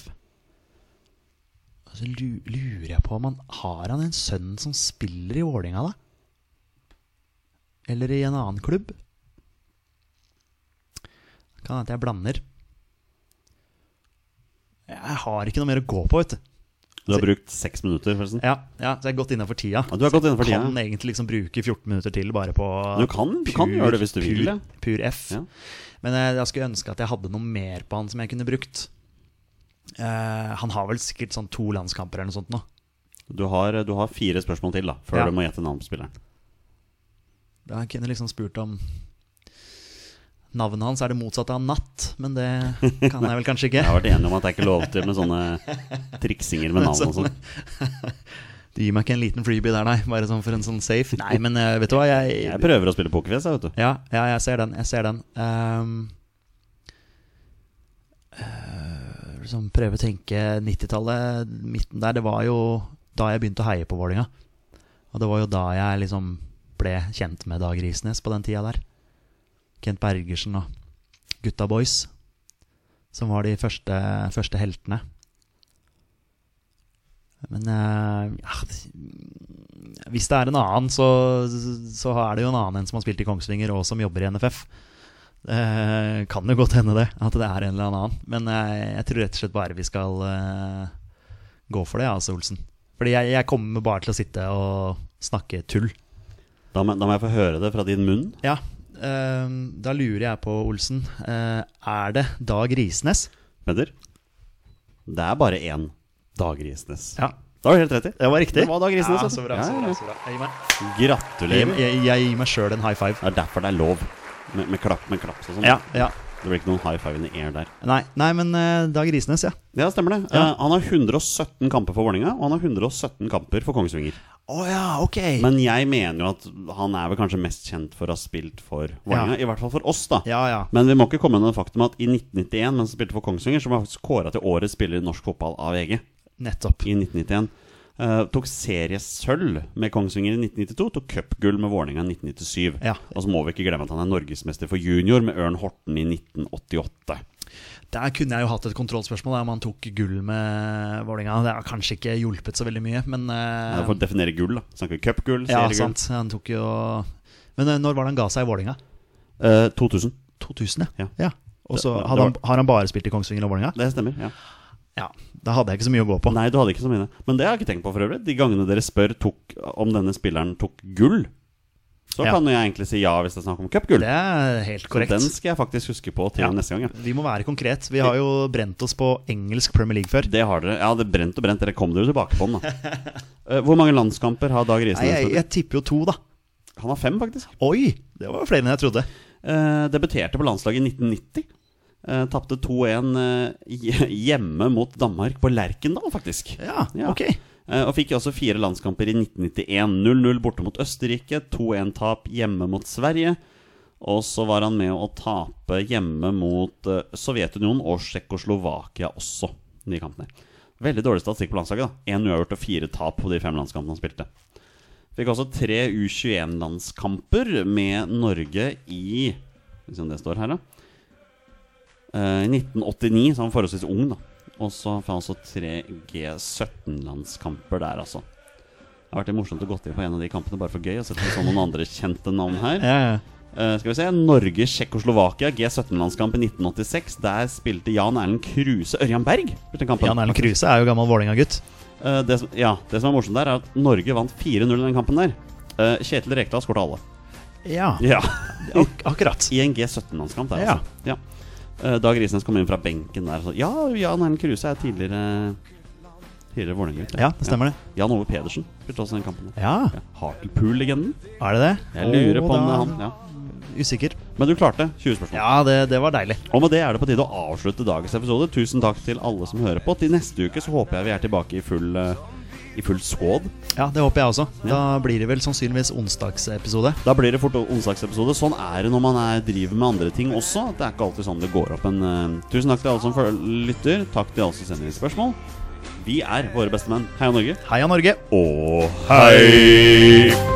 Og så lu- lurer jeg på om han har han en sønn som spiller i Vålinga da? Eller i en annen klubb? Kan hende jeg blander. Jeg har ikke noe mer å gå på, vet du.
Du har brukt seks minutter, forresten.
Ja, ja så jeg er godt innafor tida.
Ja, du er godt innenfor tida.
Kan egentlig liksom bruke 14 minutter til bare på
Du kan- du kan gjøre det hvis du vil,
Pur,
ja.
pur F.
Ja.
Men jeg, jeg skulle ønske at jeg hadde noe mer på han som jeg kunne brukt. Eh, han har vel sikkert sånn to landskamper eller noe sånt nå.
Du har, du har fire spørsmål til da før
Ja.
du må gjette navn på spilleren.
Da jeg kunne liksom spurt om Navnet hans er det motsatte av natt, men det kan jeg vel kanskje ikke.
Jeg har vært enig om at det er ikke lov til med sånne triksinger med navn og sånn.
Du gir meg ikke en liten freebie der, nei. Bare sånn for en sånn safe. Nei, men eh, vet du hva,
Jeg prøver å spille pokerfjes, jeg, vet du.
Ja, ja, jeg ser den. Jeg ser den. Ehm, eh, liksom prøve å tenke 90-tallet, midten der. Det var jo da jeg begynte å heie på Vålinga. Og det var jo da jeg liksom ble kjent med Dag Risnes på den tida der. Kent Bergersen og Gutta Boys, som var de første, første heltene. Men eh, ja, hvis det er en annen, så, så er det jo en annen enn som har spilt i Kongsvinger og som jobber i NFF. Eh, kan jo godt hende det, at det er en eller annen. Men jeg, jeg tror rett og slett bare vi skal eh, gå for det, ja, altså, Olsen. Fordi jeg, jeg kommer bare til å sitte og snakke tull.
Da må, da må jeg få høre det fra din munn.
Ja, eh, da lurer jeg på, Olsen, eh, er det Dag Risnes?
Peder. Det er bare én Dag Risnes.
Ja. altså.
Da har du helt rett i. Det var riktig. Det var Dag Risnes,
Ja,
vet du.
så bra, så
Ja,
bra,
ja,
så bra. Jeg gir meg-
ja.
Jeg,
Gratulerer.
jeg, jeg gir meg sjøl en high five.
Det er derfor det er lov med, med klapp med klaps og sånn.
Ja, ja.
Det blir ikke noen high five in the air der.
Nei, nei men eh, Dag Risnes, ja.
Ja, stemmer det. Eh, han har 117 kamper for Vålerenga, og han har 117 kamper for Kongsvinger.
Å ja, ok.
Men jeg mener jo at han er vel kanskje mest kjent for å ha spilt for Vålerenga. I hvert fall for oss, da.
ja, ja.
Men vi må ikke komme med det faktum at i 1991, mens han spilte for Kongsvinger, så var han faktisk kåra til årets spiller i norsk fotball av E VG.
Nettopp.
I 1991 Eh, Tok seriesølv med Kongsvinger i 1992, tok cupgull med Vålerenga i 1997.
Ja.
Og så må vi ikke glemme at han er norgesmester for junior med Ørn Horten i 1988.
Der kunne jeg jo hatt et kontrollspørsmål da, om han tok gull med Vålinga. Det har kanskje ikke hjulpet så veldig mye, men eh,
Det er for å definere gull, da. Snakker vi cupgull,
Ja,
seriegull.
sant. Han tok jo Men eh, når var det han ga seg i Vålinga?
Eh, 2000.
2000,
Ja.
Og så
Det- det
hadde han,
var-
Har han bare spilt i Kongsvinger og Vålinga?
Det stemmer. ja
Ja. Da hadde jeg ikke så mye å gå på.
Nei, du hadde ikke så mye. Men det har jeg ikke tenkt på for øvrig. De gangene dere spør tok, om denne spilleren tok gull, så
Ja.
kan jo jeg egentlig si ja hvis det er snakk om cupgull.
Det er helt
Så
korrekt.
Den skal jeg faktisk huske på til
Ja.
neste gang. Ja.
Vi må være konkret. Vi har jo brent oss på engelsk Premier League før.
Det har dere. Ja, det brent og brent. Dere kom dere tilbake på den, da. Eh, Hvor mange landskamper har Dag
Nei, jeg,
Risnes?
jeg tipper jo to, da.
Han har fem, faktisk.
Oi! Det var flere enn jeg trodde.
Eh, debuterte på landslaget i 1990. Eh, Tapte 2-1 eh, hje- hjemme mot Danmark på Lerkendal, faktisk.
Ja,
Ja.
ok.
Eh, Og fikk jo også fire landskamper i 1991. 0-0 borte mot Østerrike, 2-1-tap hjemme mot Sverige. Og så var han med å tape hjemme mot eh, Sovjetunionen og Tsjekkoslovakia også. De kampene. Veldig dårlig statistikk på landslaget. da Én uavgjort og fire tap på de fem landskampene han spilte. Fikk også tre U21-landskamper med Norge i Skal vi se om det står her, da. Eh, I 1989, så han var forholdsvis ung, da. Og så får han også tre G17-landskamper der, altså. Det har vært litt morsomt å gå til på en av de kampene, bare for gøy. Og sett om vi så noen andre kjente navn her.
Ja, ja.
Eh, skal vi se. Norge-Tsjekkoslovakia, G17-landskamp i 1986. Der spilte Jan Erlend Kruse Ørjan Berg. spilte den kampen.
Jan Erlend Kruse er jo gammel Vålerenga-gutt.
Eh, det, som, ja, det som er morsomt der, er at Norge vant 4-0 i den kampen der. Eh, Kjetil Rekdal skåret alle.
Ja,
Ja,
ak akkurat.
I en G17-landskamp der,
Ja.
altså. Ja. Eh, Dag Risnes kommer inn fra benken der. og Så, ja, Jan Erlend Kruse er tidligere Tidligere Vålerenga-gutt.
Ja, det stemmer det.
Jan Ove Pedersen spilte også den kampen. der.
Ja,
Ja. Hartlepool-legenden.
er det det?
Jeg lurer
Å,
på om det
da-
er han. Ja.
Usikker.
Men du klarte 20 spørsmål.
Ja, det, det var deilig.
Og med det er det på tide å avslutte dagens episode. Tusen takk til alle som hører på. Til neste uke så håper jeg vi er tilbake i full, eh, i full såd.
Ja, det håper jeg også.
Ja.
Da blir det vel sannsynligvis onsdagsepisode.
Da blir det fort onsdagsepisode. Sånn er det når man er, driver med andre ting også. Det er ikke alltid sånn det går opp en eh, Tusen takk til alle som føl- lytter. Takk til alle som sender inn spørsmål. Vi er våre beste menn. Heia Norge.
Heia Norge!
Og hei!